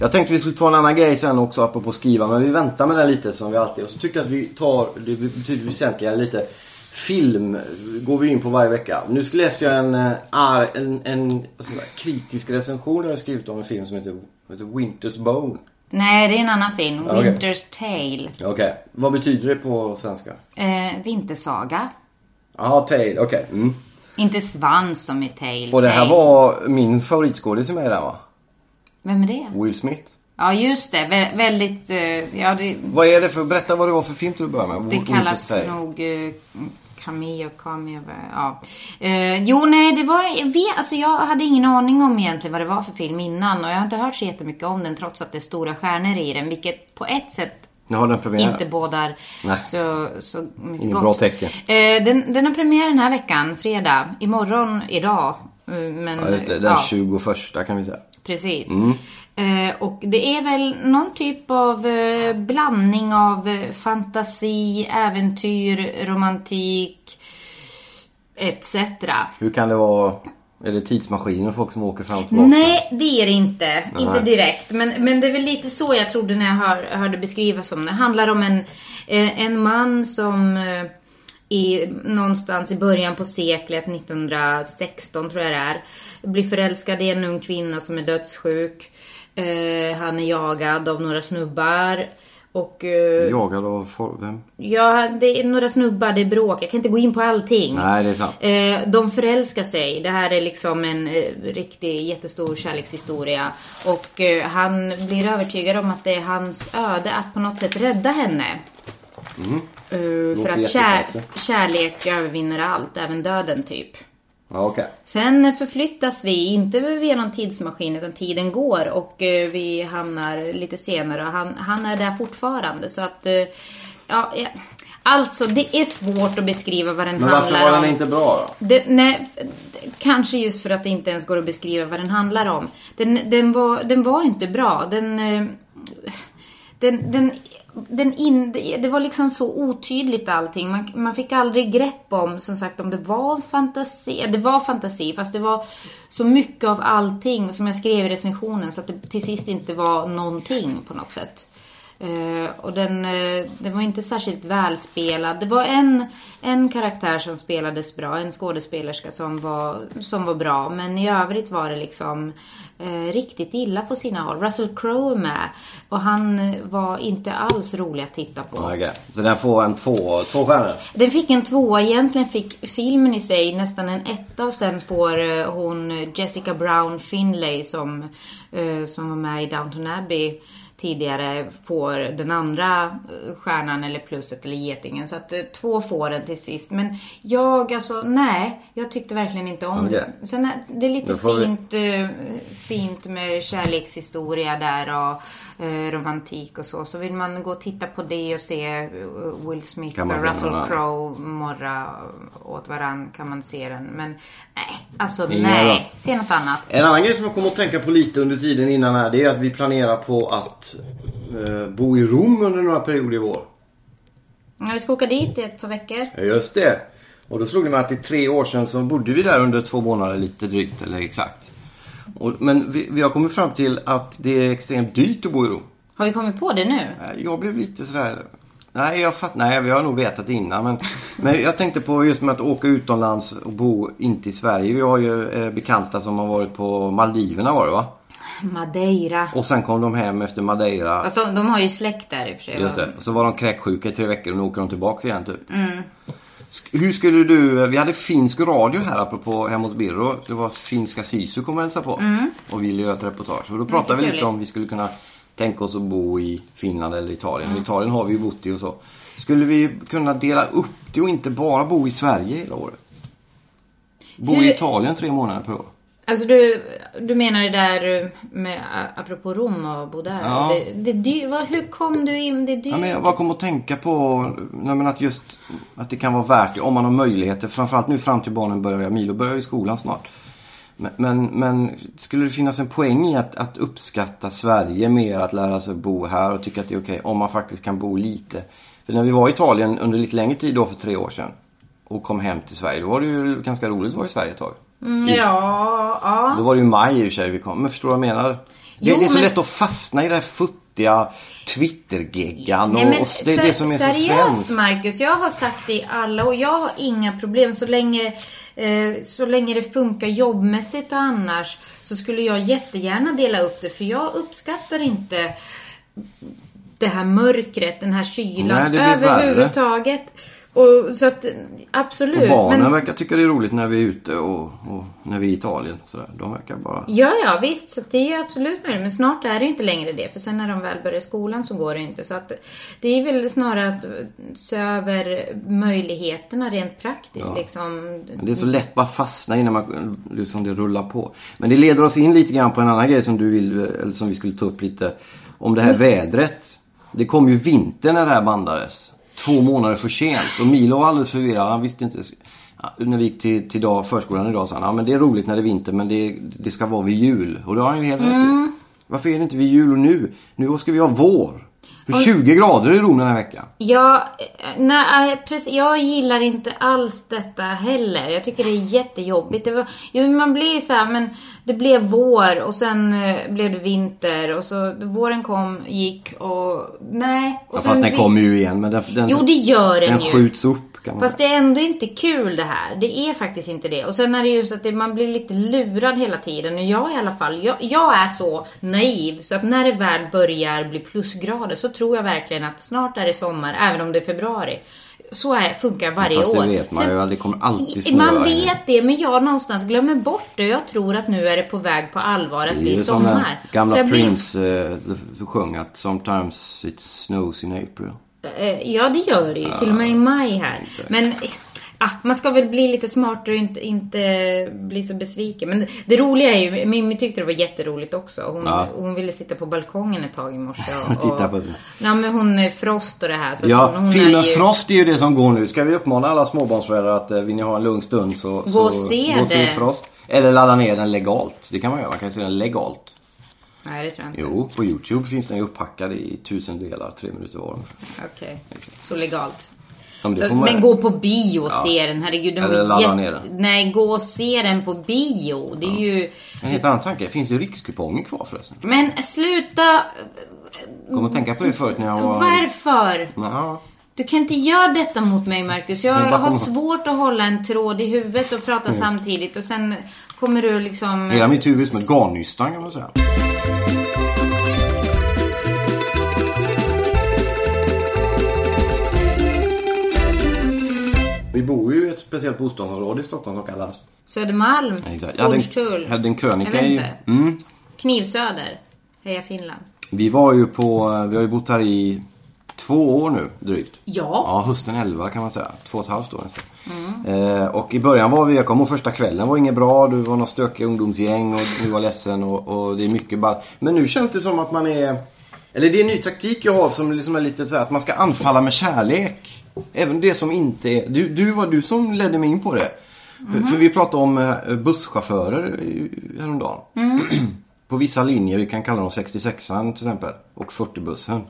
Speaker 2: Jag tänkte vi skulle ta en annan grej sen också apropå skriva men vi väntar med den lite som vi alltid och så tycker jag att vi tar det betyder väsentligen lite film går vi in på varje vecka. Nu läste jag en, eh, ar- en, en vad ska man säga, kritisk recension där jag skrivit om en film som heter, heter Winter's Bone.
Speaker 1: Nej, det är en annan film.
Speaker 2: Okej.
Speaker 1: Winter's Tale.
Speaker 2: Okej. Vad betyder det på svenska?
Speaker 1: Eh, vintersaga.
Speaker 2: Jaha, tail. Okej. Mm.
Speaker 1: Inte svans som i Tale.
Speaker 2: Och det här
Speaker 1: Tale.
Speaker 2: var min favoritskådis i mig där va?
Speaker 1: Vem är det?
Speaker 2: Will Smith.
Speaker 1: Ja, just det. Vä- väldigt... eh, ja, det,
Speaker 2: Vad är det för, berätta vad det var för film du började med.
Speaker 1: Det
Speaker 2: Winter's
Speaker 1: kallas
Speaker 2: Tale.
Speaker 1: nog eh, cameo, cameo, ja. Eh, jo, nej, det var, jag, vet, alltså jag hade ingen aning om egentligen vad det var för film innan och jag har inte hört så jättemycket om den trots att det är stora stjärnor i den, vilket på ett sätt
Speaker 2: Nu har den premiär.
Speaker 1: inte bådar
Speaker 2: Nej.
Speaker 1: så, så mycket
Speaker 2: Inget
Speaker 1: gott.
Speaker 2: bra tecken.
Speaker 1: Eh, den, den har premiär den här veckan, fredag. Imorgon, idag. Eh, Men,
Speaker 2: Ja, just det. Den Mm. 21 kan vi säga.
Speaker 1: Precis. Eh, och det är väl någon typ av eh, blandning av eh, fantasi, äventyr, romantik etc.
Speaker 2: Hur kan det vara, är det tidsmaskiner och folk som åker fram och tillbaka?
Speaker 1: Nej, det är det inte. Inte
Speaker 2: Nej.
Speaker 1: direkt. Men, men det är väl lite så jag trodde när jag hör, hörde beskrivas som det. Det handlar om en, eh, en man som eh, i, någonstans i början på seklet, 1916 tror jag det är, blir förälskad i en ung kvinna som är dödssjuk. Eh, han är jagad av några snubbar. Och eh,
Speaker 2: Jagad av folk, vem?
Speaker 1: ja, det är några snubbar, det är bråk. Jag kan inte gå in på allting.
Speaker 2: Nej, det är sant.
Speaker 1: Eh, de förälskar sig. Det här är liksom en eh, riktig jättestor kärlekshistoria. Och eh, han blir övertygad om att det är hans öde att på något sätt rädda henne. Eh, för
Speaker 2: Mm. Låter
Speaker 1: att kär,
Speaker 2: jättekonstigt.
Speaker 1: kärlek övervinner allt, även döden typ.
Speaker 2: Ja, okej.
Speaker 1: Sen förflyttas vi, inte via någon tidsmaskin, utan tiden går och eh, vi hamnar lite senare och han, han är där fortfarande. Så att, eh, ja, ja. Alltså, det är svårt att beskriva vad den
Speaker 2: Men varför
Speaker 1: handlar
Speaker 2: var
Speaker 1: om.
Speaker 2: den inte bra då?
Speaker 1: Det, nej, f- det- kanske just för att det inte ens går att beskriva vad den handlar om. Den, den, var, den var inte bra. Den, eh, den, den, den in, det det var liksom så otydligt allting. Man, man fick aldrig grepp om, som sagt, om det var fantasi. Ja, Det var fantasi, fast det var så mycket av allting som jag skrev i recensionen så att det till sist inte var någonting på något sätt. Eh, och den, eh, den var inte särskilt välspelad. Det var en, en karaktär som spelades bra, en skådespelerska som var, som var bra. Men i övrigt var det liksom eh, riktigt illa på sina håll. Russell Crowe är med och han eh, var inte alls rolig att titta på.
Speaker 2: Ja, okej. Så den får en två, två stjärnor?
Speaker 1: Den fick en tvåa, egentligen fick filmen i sig nästan en etta och sen får eh, hon Jessica Brown Finlay som, eh, som var med i Downton Abbey tidigare får den andra eh, stjärnan eller pluset eller getingen. Så att eh, två får den till sist. Men jag alltså, nej. Jag tyckte verkligen inte om
Speaker 2: Okej.
Speaker 1: det. Sen är det är lite
Speaker 2: Då får vi-
Speaker 1: fint, eh, fint med kärlekshistoria där och eh, romantik och så. Så vill man gå och titta på det och se eh, Will Smith
Speaker 2: Kan man
Speaker 1: med
Speaker 2: se
Speaker 1: Russell
Speaker 2: någon annan?
Speaker 1: Crowe morra åt varann kan man se den. Men nej, alltså
Speaker 2: Ingen
Speaker 1: nej.
Speaker 2: bra.
Speaker 1: Se något annat.
Speaker 2: En annan grej som jag kom att tänka på lite under tiden innan här det är att vi planerar på att eh, bo i Rom under några perioder i vår.
Speaker 1: Ja, Vi ska åka dit i ett par veckor.
Speaker 2: Ja, just det. Och då slog det mig att det är tre år sedan så bodde vi där under två månader lite drygt eller exakt. Och, men vi, vi har kommit fram till att det är extremt dyrt att bo i Rom.
Speaker 1: Har vi kommit på det nu?
Speaker 2: Nej, Jag blev lite sådär... Nej, jag fatt, nej, vi har nog vetat det innan. Men, men jag tänkte på just med att åka utomlands och bo inte i Sverige. Vi har ju eh, bekanta som har varit på Maldiverna var det va?
Speaker 1: Madeira.
Speaker 2: Och sen kom de hem efter Madeira.
Speaker 1: Fast de, de har ju släkt där i och för sig.
Speaker 2: Just det. Och så var de kräksjuka i tre veckor och nu åker de tillbaka igen typ. Sk- Hur skulle du... Vi hade finsk radio här apropå hemma hos Birro. Det var finska Sisu kom och hälsade på. Och ville göra ett reportage. Och då pratade vi
Speaker 1: trevligt.
Speaker 2: lite om vi skulle kunna tänka oss att bo i Finland eller Italien. Italien har vi ju bott i och så. Skulle vi kunna dela upp det och inte bara bo i Sverige hela året? Bo
Speaker 1: Hur-
Speaker 2: i Italien tre månader per år.
Speaker 1: Alltså du, du menar det där med apropå Rom och bo där.
Speaker 2: Ja.
Speaker 1: Det, det är dyr, vad, hur kom du in? Det är dyrt.
Speaker 2: Ja, men jag bara kom att tänka på nej, men att just att det kan vara värt det om man har möjligheter. Framförallt nu fram till barnen börjar. Milo börjar ju skolan snart. Men, men, men skulle det finnas en poäng i att, att uppskatta Sverige mer, att lära sig bo här och tycka att det är okej om man faktiskt kan bo lite? För när vi var i Italien under lite längre tid då för tre år sedan och kom hem till Sverige, då var det ju ganska roligt att vara i Sverige ett tag.
Speaker 1: Mm, ja, ja.
Speaker 2: Då var det ju maj i och för sig vi kom. Men förstår du vad jag menar?
Speaker 1: Jo,
Speaker 2: det, det är så
Speaker 1: men-
Speaker 2: lätt att fastna i det här futtiga Twittergeggan och, och det,
Speaker 1: ser-
Speaker 2: det som är så
Speaker 1: seriöst
Speaker 2: svenskt.
Speaker 1: Marcus, jag har sagt det i alla och jag har inga problem så länge, eh, så länge det funkar jobbmässigt och annars så skulle jag jättegärna dela upp det för jag uppskattar inte det här mörkret, den här
Speaker 2: Nej,
Speaker 1: kylan
Speaker 2: det blir
Speaker 1: överhuvudtaget. Och, så att
Speaker 2: Och
Speaker 1: absolut.
Speaker 2: barnen
Speaker 1: men-
Speaker 2: verkar tycka det är roligt när vi är ute och, och när vi är i Italien. Sådär. De verkar bara...
Speaker 1: Ja, ja visst. Så att det är ju absolut möjligt. Men snart är det ju inte längre det. För sen när de väl börjar skolan så går det ju inte. Så att det är väl snarare att se över möjligheterna rent praktiskt. Liksom.
Speaker 2: Men det är så lätt bara fastna i när man, liksom det rullar på. Men det leder oss in lite grann på en annan grej som du vill, eller som vi skulle ta upp lite. Om det här
Speaker 1: Mm.
Speaker 2: vädret. Det kom ju vinter när det här bandades. Två månader för sent. Och Milo var alldeles förvirrad. Han visste inte. Ja, När vi gick till, till dag, förskolan idag sa han, ja men det är roligt när det är vinter men det, det ska vara vid jul. Och det har han ju helt rätt
Speaker 1: Mm.
Speaker 2: i. Varför är det inte vid jul och nu? Nu ska vi ha vår. För 20 grader i Rom den här veckan.
Speaker 1: Jag, nej, eh, precis, jag gillar inte alls detta heller. Jag tycker det är jättejobbigt. Det var, jo, man blir ju så här, men det blev vår och sen eh, blev det vinter. Och så våren kom, gick och nej. Och
Speaker 2: Ja,
Speaker 1: sen
Speaker 2: fast den
Speaker 1: vi-
Speaker 2: kommer ju igen. Men den, den,
Speaker 1: Jo, det gör den
Speaker 2: den
Speaker 1: ju.
Speaker 2: skjuts upp kan man
Speaker 1: Fast det är ändå inte kul det här. Det är faktiskt inte det. Och sen är det ju så att det, man blir lite lurad hela tiden. Och jag i alla fall, jag, jag är så naiv så att när det väl börjar bli plusgrader så tror jag verkligen att snart är det sommar, även om det är februari. Så är, funkar varje
Speaker 2: Fast det
Speaker 1: år.
Speaker 2: vet man
Speaker 1: Sen-
Speaker 2: ju, det kommer alltid
Speaker 1: I-
Speaker 2: snöa
Speaker 1: Man
Speaker 2: här nu.
Speaker 1: vet det, men jag någonstans glömmer bort det. Jag tror att nu är det på väg på allvar att
Speaker 2: Det är
Speaker 1: bli
Speaker 2: ju som den
Speaker 1: sommar. Så
Speaker 2: gamla
Speaker 1: jag blir-
Speaker 2: Prince eh, sjöng att sometimes it snows in April.
Speaker 1: Eh, Ja, det gör det ju. Till och med i maj här. Men eh, ah, man ska väl bli lite smartare och inte, inte bli så besviken. Men det roliga är ju, Mimmi tyckte det var jätteroligt också. Hon,
Speaker 2: Ja.
Speaker 1: hon ville sitta på balkongen ett tag i morse. Och,
Speaker 2: Titta på
Speaker 1: och,
Speaker 2: det.
Speaker 1: Nej, men hon är Frost och det här. Så att
Speaker 2: Ja,
Speaker 1: hon, hon
Speaker 2: filmen
Speaker 1: är ju,
Speaker 2: Frost är ju det som går nu. Ska vi uppmana alla småbarnsföräldrar att eh, vill ni ha en lugn stund så gå så,
Speaker 1: och se
Speaker 2: gå och se
Speaker 1: det.
Speaker 2: Frost. Eller ladda ner den legalt. Det kan man göra. Man kan ju se den legalt.
Speaker 1: Nej, det tror jag inte.
Speaker 2: Jo, på Youtube finns den ju upphackad i tusen delar, tre minuter var.
Speaker 1: Okej, så legalt.
Speaker 2: Ja, men det
Speaker 1: Så,
Speaker 2: får man-
Speaker 1: men gå på bio och se den. Herregud, den
Speaker 2: Eller
Speaker 1: var
Speaker 2: ladda
Speaker 1: jätte...
Speaker 2: ner den.
Speaker 1: Nej, gå och se den på bio. Det är ju...
Speaker 2: En helt annan tanke. Det finns ju rikskuponger kvar förresten.
Speaker 1: Men sluta...
Speaker 2: Kom att tänka på det förut när jag var...
Speaker 1: Varför?
Speaker 2: Ja,
Speaker 1: Du kan inte göra detta mot mig Marcus. Jag
Speaker 2: Men bara
Speaker 1: har
Speaker 2: kom-
Speaker 1: svårt att hålla en tråd i huvudet och prata samtidigt och sen kommer du liksom...
Speaker 2: hela mitt huvud är som ett garnnystan kan man säga. Vi bor ju i ett speciellt bostadsområde i Stockholm som kallas...
Speaker 1: Södermalm,
Speaker 2: Jag hade
Speaker 1: Hornstull,
Speaker 2: en, hade en
Speaker 1: Jag
Speaker 2: krönika
Speaker 1: vet
Speaker 2: i...
Speaker 1: inte.
Speaker 2: Mm.
Speaker 1: Knivsöder. Heja Finland.
Speaker 2: Vi var ju på... Vi har ju bott här i två år nu drygt.
Speaker 1: Ja.
Speaker 2: Ja, hösten 11 kan man säga. Två och ett halvt år nästan. Eh, och i början var vi, jag kommer ihåg första kvällen var inget bra. Du var någon stökig ungdomsgäng och du var ledsen och, och det är mycket bara. Men nu känns det som att man är... Eller det är en ny taktik jag har som liksom är lite så här att man ska anfalla med kärlek. Även det som inte är... Du, du var du som ledde mig in på det. För, för vi pratade om eh, busschaufförer i- häromdagen. På vissa linjer, vi kan kalla dem 66an till exempel och 40-bussen.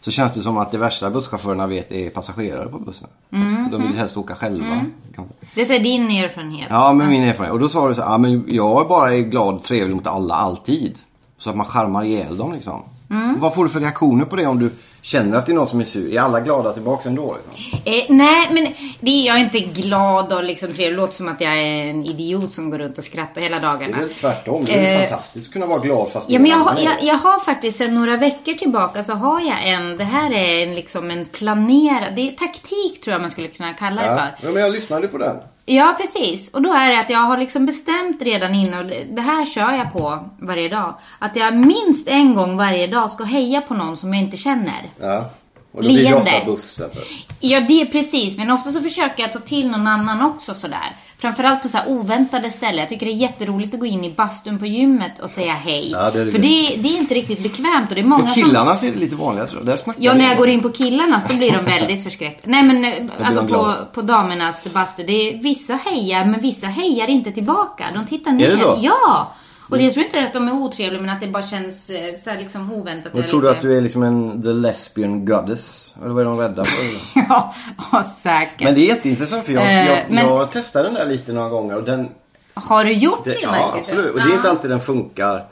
Speaker 2: Så känns det som att det värsta busschaufförerna vet är passagerare på bussen.
Speaker 1: Mm,
Speaker 2: De vill helst åka själva. Kan-
Speaker 1: Detta är din erfarenhet.
Speaker 2: Ja, men min erfarenhet. Och då sa du så här, "Ja, men jag bara är glad och trevlig mot alla alltid. Så att man charmar ihjäl dem liksom.
Speaker 1: Mm.
Speaker 2: Vad får du för reaktioner på det om du känner att det är någon som är sur? Är alla glada tillbaks ändå? Liksom?
Speaker 1: Eh, nej, men det är jag inte glad och liksom trevlig. Det låter som att jag är en idiot som går runt och skrattar hela
Speaker 2: Det
Speaker 1: dagarna.
Speaker 2: är väl tvärtom. Det är
Speaker 1: Eh,
Speaker 2: ju fantastiskt att kunna vara glad fast
Speaker 1: Ja, men jag,
Speaker 2: alla
Speaker 1: har-
Speaker 2: är-
Speaker 1: jag, jag har faktiskt sedan några veckor tillbaka så har jag en, det här är en, liksom en planerad, det är taktik tror jag man skulle kunna kalla det
Speaker 2: ja.
Speaker 1: för.
Speaker 2: ja, men jag lyssnade på den.
Speaker 1: Ja, precis. Och då är det att jag har liksom bestämt redan innan, och det- det här kör jag på varje dag, att jag minst en gång varje dag ska heja på någon som jag inte känner.
Speaker 2: Ja. Och då blir det
Speaker 1: Leende.
Speaker 2: ofta bussen.
Speaker 1: Ja, det är precis. Men ofta så försöker jag ta till någon annan också sådär. Framförallt på så här oväntade ställen. Jag tycker det är jätteroligt att gå in i bastun på gymmet och säga hej.
Speaker 2: Ja, det är det
Speaker 1: För det, det är inte riktigt bekvämt och det är många
Speaker 2: På
Speaker 1: som...
Speaker 2: killarnas är det lite vanligare tror jag. Där snackar
Speaker 1: Ja,
Speaker 2: vi
Speaker 1: när
Speaker 2: om-
Speaker 1: jag går in på killarnas då blir de väldigt förskräckta. Nej men eh, alltså
Speaker 2: de
Speaker 1: på,
Speaker 2: glada.
Speaker 1: på damernas bastu, det är, vissa hejar men vissa hejar inte tillbaka. De tittar ner.
Speaker 2: det så? Mm.
Speaker 1: Ja! Och det, jag tror inte att de är otrevliga men att det bara känns eh, så här liksom oväntat.
Speaker 2: Men tror du att du är liksom en the lesbian goddess? Eller vad är de rädda för?
Speaker 1: ja, ja, säkert.
Speaker 2: men det är jätteintressant för jag,
Speaker 1: Eh,
Speaker 2: jag,
Speaker 1: men-
Speaker 2: jag testade den där lite några gånger och den...
Speaker 1: Har du gjort det,
Speaker 2: Det, ja,
Speaker 1: Marcus?
Speaker 2: absolut. Och det är inte
Speaker 1: Ja.
Speaker 2: alltid den funkar.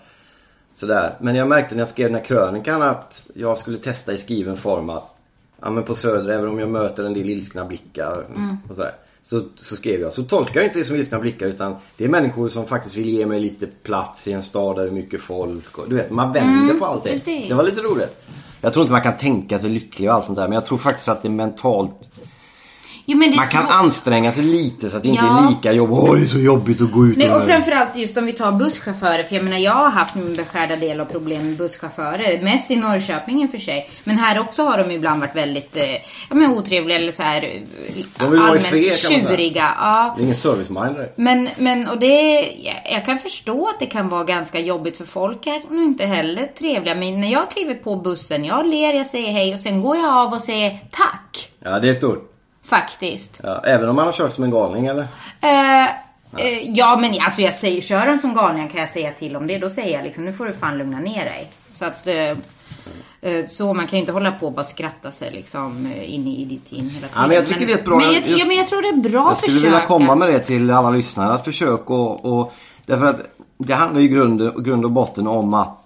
Speaker 2: Sådär. Men jag märkte när jag skrev den här krönikan att jag skulle testa i skriven form att ja, men på Söder, även om jag möter en del ilskna blickar
Speaker 1: Mm.
Speaker 2: och sådär. Så, så skrev jag. Så tolkar jag inte det som ilskna blickar utan det är människor som faktiskt vill ge mig lite plats i en stad där det är mycket folk. Och, du vet, man vänder på allt det.
Speaker 1: Mm, precis.
Speaker 2: Det var lite roligt. Jag tror inte man kan tänka sig lycklig och allt sånt där. Men jag tror faktiskt att det är mentalt.
Speaker 1: Jo, men det är
Speaker 2: Man kan
Speaker 1: svårt.
Speaker 2: anstränga sig lite så att det inte
Speaker 1: Ja.
Speaker 2: är lika jobbigt. Åh, det är så jobbigt att gå ut
Speaker 1: Nej, och
Speaker 2: här."
Speaker 1: framförallt just om vi tar busschaufförer. För jag menar, jag har haft min beskärda del av problem med busschaufförer. Mest i Norrköping i och för sig. Men här också har de ibland varit väldigt eh, ja, men otrevliga eller så här eh,
Speaker 2: De vill vara i fred, kan man säga.
Speaker 1: tjuriga. Ja.
Speaker 2: Det är ingen service-mindre.
Speaker 1: Men, men och det, jag- jag kan förstå att det kan vara ganska jobbigt för folk är nog inte heller trevliga. Men när jag kliver på bussen, jag ler, jag säger hej och sen går jag av och säger tack.
Speaker 2: Ja, det är stort.
Speaker 1: Faktiskt.
Speaker 2: Ja, även om man har kört som en galning eller?
Speaker 1: Eh, eh, ja men alltså jag säger, kör den som galning kan jag säga till om det. Då säger jag liksom, nu får du fan lugna ner dig. Så att, eh, eh, så man kan ju inte hålla på och bara skratta sig liksom eh, in i ditt in hela tiden.
Speaker 2: men jag tycker det är ett bra-
Speaker 1: Men jag,
Speaker 2: just-
Speaker 1: ja, men jag tror det är bra
Speaker 2: Jag skulle vilja komma med det till alla lyssnare att försök och, och därför att det handlar ju i grund, grund och botten om att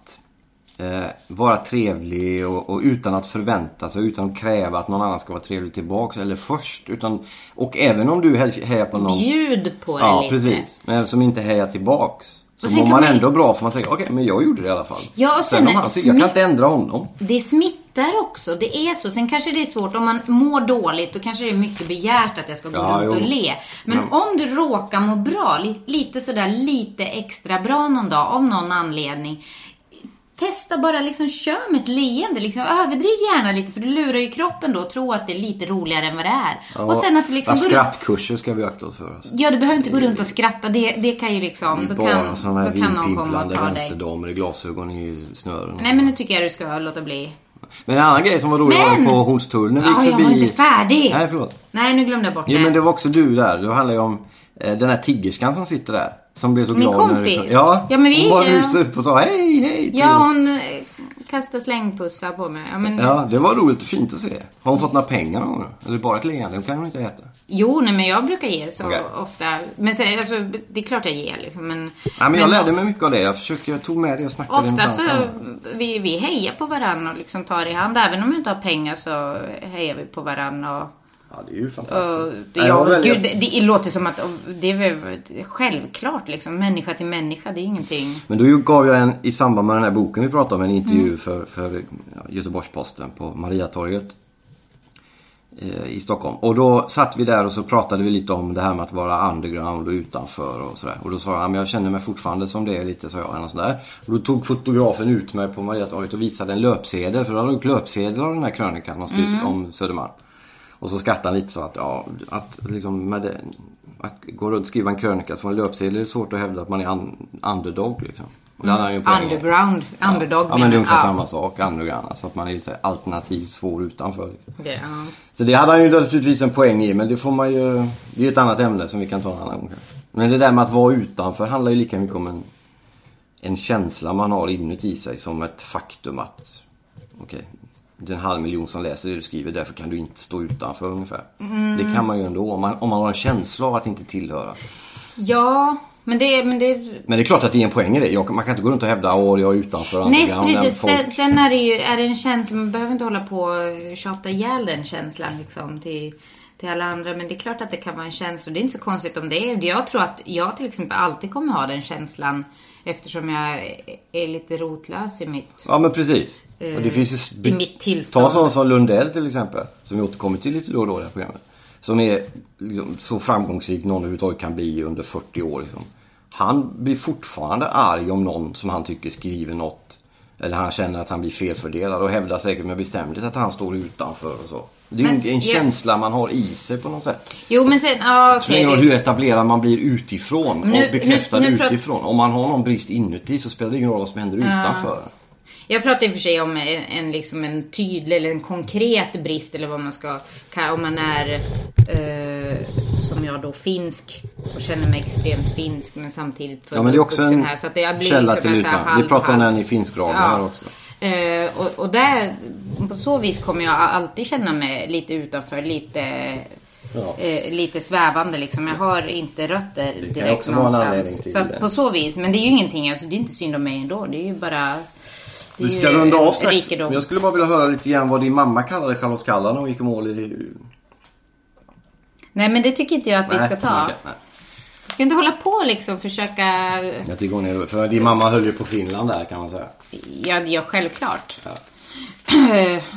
Speaker 2: eh, vara trevlig och, och utan att förvänta sig, utan att kräva att någon annan ska vara trevlig tillbaks eller först. Utan, och även om du hej- hejar på någon
Speaker 1: Bjud på det
Speaker 2: ja,
Speaker 1: lite.
Speaker 2: precis, men som inte hejar tillbaks. Så
Speaker 1: Och sen
Speaker 2: mår
Speaker 1: kan
Speaker 2: man
Speaker 1: man-
Speaker 2: ändå bra för man tänker okej men jag gjorde det i alla fall.
Speaker 1: Ja, och sen
Speaker 2: om han,
Speaker 1: smitt-
Speaker 2: jag kan inte ändra honom.
Speaker 1: Det smittar också, det är så. Sen kanske det är svårt, om man mår dåligt, då kanske det är mycket begärt att jag ska gå
Speaker 2: Ja,
Speaker 1: runt och
Speaker 2: jo.
Speaker 1: le. Men om du råkar må bra, li, lite sådär lite extra bra någon dag, av någon anledning. Testa bara, liksom kör med ett leende. Liksom, överdriv gärna lite, för du lurar ju kroppen då och tror att det är lite roligare än vad det är. och sen att du liksom
Speaker 2: Ja,
Speaker 1: går runt,
Speaker 2: Skrattkurser ska vi akta oss för. Alltså.
Speaker 1: Ja, du behöver inte gå runt och skratta. Det, det kan ju liksom... Då
Speaker 2: Bara
Speaker 1: kan,
Speaker 2: sådana här
Speaker 1: då kan någon komma och
Speaker 2: vindpimplande
Speaker 1: ta dig.
Speaker 2: vänsterdamer i glasögon i snören.
Speaker 1: Nej, men nu tycker jag du ska låta bli.
Speaker 2: Men en annan grej som var rolig var
Speaker 1: Men-
Speaker 2: på Hornstull när vi
Speaker 1: Ja,
Speaker 2: gick
Speaker 1: jag
Speaker 2: förbi...
Speaker 1: var inte färdig.
Speaker 2: Nej, förlåt.
Speaker 1: Nej, nu glömde jag bort
Speaker 2: Jo,
Speaker 1: det.
Speaker 2: men det var också du där. Det handlar ju om eh, den här tiggerskan som sitter där. Som blev så
Speaker 1: Min
Speaker 2: glad när
Speaker 1: kompis?
Speaker 2: du... Ja,
Speaker 1: Ja, men vi-
Speaker 2: hon bara
Speaker 1: ja.
Speaker 2: rusade upp och sa hej, hej till...
Speaker 1: Ja, hon eh, kastade slängpussar på mig. Ja, men,
Speaker 2: Ja, det var roligt och fint att se. Har hon fått några pengar någon gång? Eller bara ett leende? Det kan hon inte äta.
Speaker 1: Jo, nej, men jag brukar ge så
Speaker 2: Okej.
Speaker 1: ofta. Men sen, alltså, det är klart jag ger liksom, men,
Speaker 2: Ja, men jag lärde mig mycket av det. Jag försökte, jag tog med det och snackade
Speaker 1: Ofta
Speaker 2: med
Speaker 1: så
Speaker 2: varandra.
Speaker 1: vi, vi hejar på varandra och liksom tar i hand. Även om jag inte har pengar så hejar vi på varandra. Och,
Speaker 2: Ja, det är ju fantastiskt.
Speaker 1: och,
Speaker 2: Nej,
Speaker 1: det,
Speaker 2: jag
Speaker 1: ja,
Speaker 2: var väldigt-
Speaker 1: gud, det, det låter som att och, det är väl självklart liksom. Människa till människa, det är ingenting.
Speaker 2: Men då gav jag en, i samband med den här boken vi pratade om, en intervju för, för ja, Göteborgs-Posten på Mariatorget eh, i Stockholm. Och då satt vi där och så pratade vi lite om det här med att vara underground och utanför och sådär. Och då sa jag, "Ja, men jag känner mig fortfarande som det är lite, sa jag. Eller något sånt där. Och då tog fotografen ut mig på Mariatorget och visade en löpsedel, för då hade de gjort löpsedel av den här krönikan han skrev
Speaker 1: Mm.
Speaker 2: om Södermalm. Och så skrattade han lite så att, ja, att liksom med det, att gå runt och skriva en krönika som en löpsedel är det svårt att hävda att man är un, underdog liksom. Och det hade han ju en poäng i.
Speaker 1: Underground, underdog.
Speaker 2: Ja men det är ungefär
Speaker 1: ja.
Speaker 2: samma sak, underground. Alltså att man är ju så här alternativ svår utanför. Liksom.
Speaker 1: Det, ja.
Speaker 2: Så det hade han ju naturligtvis en poäng i men det får man ju... Det är ju ett annat ämne som vi kan ta en annan gång kanske. Men det där med att vara utanför handlar ju lika mycket om en, en känsla man har inuti sig som ett faktum att... Okej, det är en halv miljon som läser det du skriver därför kan du inte stå utanför ungefär.
Speaker 1: Mm.
Speaker 2: Det kan man ju ändå om man, om man har en känsla av att inte tillhöra.
Speaker 1: ja, men det, men det
Speaker 2: Men det är klart att det är en poäng i det. Jag, man kan inte gå runt och hävda att jag är utanför.
Speaker 1: Nej,
Speaker 2: underground,
Speaker 1: precis.
Speaker 2: folk-
Speaker 1: Sen, sen är det ju är det en känsla, man behöver inte hålla på och tjata ihjäl den känslan liksom till, till alla andra. Men det är klart att det kan vara en känsla. Det är inte så konstigt om det är. Jag tror att jag till exempel alltid kommer ha den känslan eftersom jag är lite rotlös i mitt...
Speaker 2: Ja men precis. och det
Speaker 1: Eh,
Speaker 2: finns ju... sp-
Speaker 1: i mitt tillstånd.
Speaker 2: Ta sån som Lundell till exempel. Som vi återkommer till lite då och då i det här programmet. Som är liksom, så framgångsrik någon överhuvudtaget kan bli under 40 år. Liksom. Han blir fortfarande arg om någon som han tycker skriver något. Eller han känner att han blir felfördelad och hävdar säkert med bestämdhet att han står utanför och så. Det är ju
Speaker 1: Men,
Speaker 2: en, en
Speaker 1: ja.
Speaker 2: känsla man har i sig på något sätt.
Speaker 1: Jo, men sen... Ja,
Speaker 2: Det spelar
Speaker 1: okej.
Speaker 2: ingen roll
Speaker 1: det-
Speaker 2: hur etablerad man blir utifrån
Speaker 1: Nu-
Speaker 2: och bekräftad
Speaker 1: nu- nu pratar-
Speaker 2: utifrån. Om man har någon brist inuti så spelar det ingen roll vad som händer utanför.
Speaker 1: Jag pratar i och för sig om en, en, liksom en tydlig eller en konkret brist eller vad man ska kalla Om man är eh, som jag då finsk och känner mig extremt finsk men samtidigt född
Speaker 2: Ja men det är
Speaker 1: och
Speaker 2: också
Speaker 1: uppvuxen
Speaker 2: en
Speaker 1: här. Så att jag blir
Speaker 2: källa
Speaker 1: liksom
Speaker 2: till
Speaker 1: en så här
Speaker 2: ytan.
Speaker 1: halv-
Speaker 2: Vi pratar om
Speaker 1: halv-
Speaker 2: den i finskgraden här också.
Speaker 1: Eh, och, och där, på så vis kommer jag alltid känna mig lite utanför, lite,
Speaker 2: Ja.
Speaker 1: eh, lite svävande liksom. Jag har inte rötter
Speaker 2: kan
Speaker 1: direkt
Speaker 2: också vara en anledning
Speaker 1: någonstans.
Speaker 2: till
Speaker 1: Så
Speaker 2: det.
Speaker 1: att på så vis, men det är ju ingenting, alltså, det är inte synd om mig ändå. Det är ju bara... det är
Speaker 2: Vi ska
Speaker 1: ju
Speaker 2: runda av
Speaker 1: en
Speaker 2: strax.
Speaker 1: rikedom.
Speaker 2: Men jag skulle bara vilja höra lite grann vad din mamma kallade Charlotte Kalla när hon gick i mål i...
Speaker 1: Nej men det tycker inte jag att vi
Speaker 2: Nej,
Speaker 1: ska ta.
Speaker 2: okej, nej.
Speaker 1: Du ska inte hålla på och liksom försöka...
Speaker 2: Jag tycker hon är För din mamma höll ju på Finland där kan man säga.
Speaker 1: Ja, ja självklart.
Speaker 2: Ja.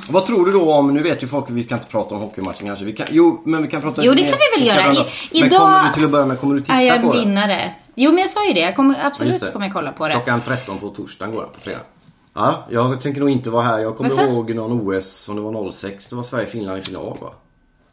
Speaker 2: Vad tror du då om, nu vet ju folk vi ska inte prata om hockeymatchen kanske. Vi kan, jo, men vi kan prata
Speaker 1: Jo,
Speaker 2: lite
Speaker 1: det kan
Speaker 2: mer.
Speaker 1: vi väl
Speaker 2: ska
Speaker 1: göra.
Speaker 2: prata.
Speaker 1: I-
Speaker 2: men
Speaker 1: idag-
Speaker 2: kommer du till att börja med, kommer du titta
Speaker 1: Är jag
Speaker 2: på
Speaker 1: en
Speaker 2: det?
Speaker 1: vinnare? Jo, men jag sa ju det. Jag kommer,
Speaker 2: Ja, just
Speaker 1: absolut
Speaker 2: det.
Speaker 1: kommer jag kolla på det.
Speaker 2: Klockan 13 på torsdagen går den, på fredag. Ja, jag tänker nog inte vara här. Jag kommer
Speaker 1: Varför?
Speaker 2: ihåg någon OS, om det var 06, det var Sverige-Finland i final va?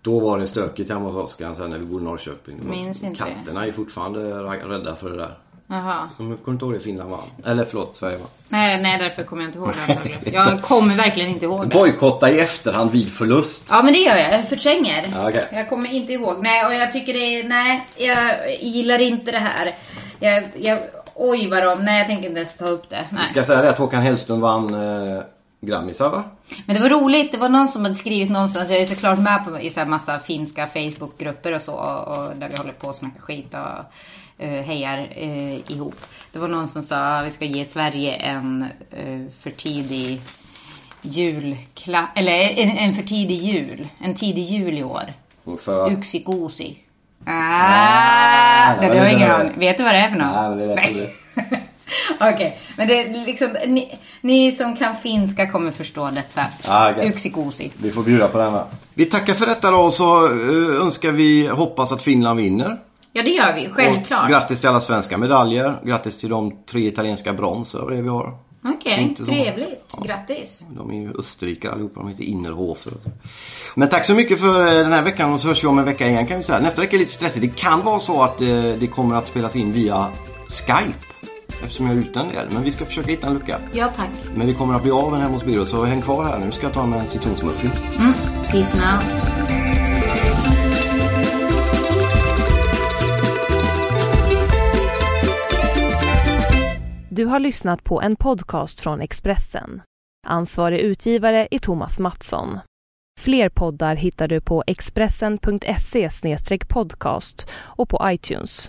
Speaker 2: Då var det stökigt hemma hos Oskar sen när vi bodde i Norrköping. Det var-
Speaker 1: Minns inte det.
Speaker 2: Katterna är fortfarande ra- rädda för det där.
Speaker 1: Jaha.
Speaker 2: De kommer inte ihåg det Finland vann. Eller förlåt, Sverige vann.
Speaker 1: Nej, nej, därför kommer jag inte ihåg det antagligen. Jag kommer verkligen inte ihåg det.
Speaker 2: Bojkotta i efterhand vid förlust.
Speaker 1: Ja, men det gör jag. Jag förtränger.
Speaker 2: Ja, okej.
Speaker 1: Jag kommer inte ihåg. Nej, och jag tycker det är... Nej, jag gillar inte det här. Jag, jag, oj, vad de... Nej, jag tänker inte ens ta upp det. Nej.
Speaker 2: Vi ska säga det att Håkan Hellström vann eh, Grammisar va?
Speaker 1: Men det var roligt, det var någon som hade skrivit någonstans, jag är såklart med på, i så här massa finska Facebookgrupper och så, och, och där vi håller på och snackar skit och eh, hejar eh, ihop. Det var någon som sa att vi ska ge Sverige en eh, för tidig julklapp, eller en, en för tidig jul, en tidig jul i år.
Speaker 2: För att...
Speaker 1: Uksi Gosi.
Speaker 2: Ah,
Speaker 1: Ah,
Speaker 2: det
Speaker 1: det
Speaker 2: var
Speaker 1: har jag
Speaker 2: lite
Speaker 1: ingen
Speaker 2: roligt.
Speaker 1: aning. Vet du vad det är för något?
Speaker 2: Nej, men det är lätt roligt.
Speaker 1: Okej, men det är liksom, ni, ni som kan finska kommer förstå detta.
Speaker 2: Ah, okej.
Speaker 1: Uksi Gosi.
Speaker 2: Vi får bjuda på denna. Vi tackar för detta då och så eh, önskar vi, hoppas att Finland vinner.
Speaker 1: Ja, det gör vi.
Speaker 2: Och
Speaker 1: Självklart.
Speaker 2: grattis till alla svenska medaljer. Grattis till de tre italienska brons över det vi har.
Speaker 1: Okej,
Speaker 2: Inte så.
Speaker 1: trevligt. Grattis.
Speaker 2: De är ju österrikare allihopa. De heter Innerhofer. och så. Men tack så mycket för eh, den här veckan och så hörs vi om en vecka igen kan vi säga. Nästa vecka är lite stressigt. Det kan vara så att eh, det kommer att spelas in via Skype. Eftersom jag är ute en del. Men vi ska försöka hitta en lucka.
Speaker 1: Ja, tack.
Speaker 2: Men vi kommer att bli av med den hemma hos Byrå så häng kvar här. Nu ska jag ta med en citronsmuffin.
Speaker 1: Peace now.
Speaker 3: Du har lyssnat på en podcast från Expressen. Ansvarig utgivare är Thomas Mattsson. Fler poddar hittar du på expressen.se podcast och på iTunes.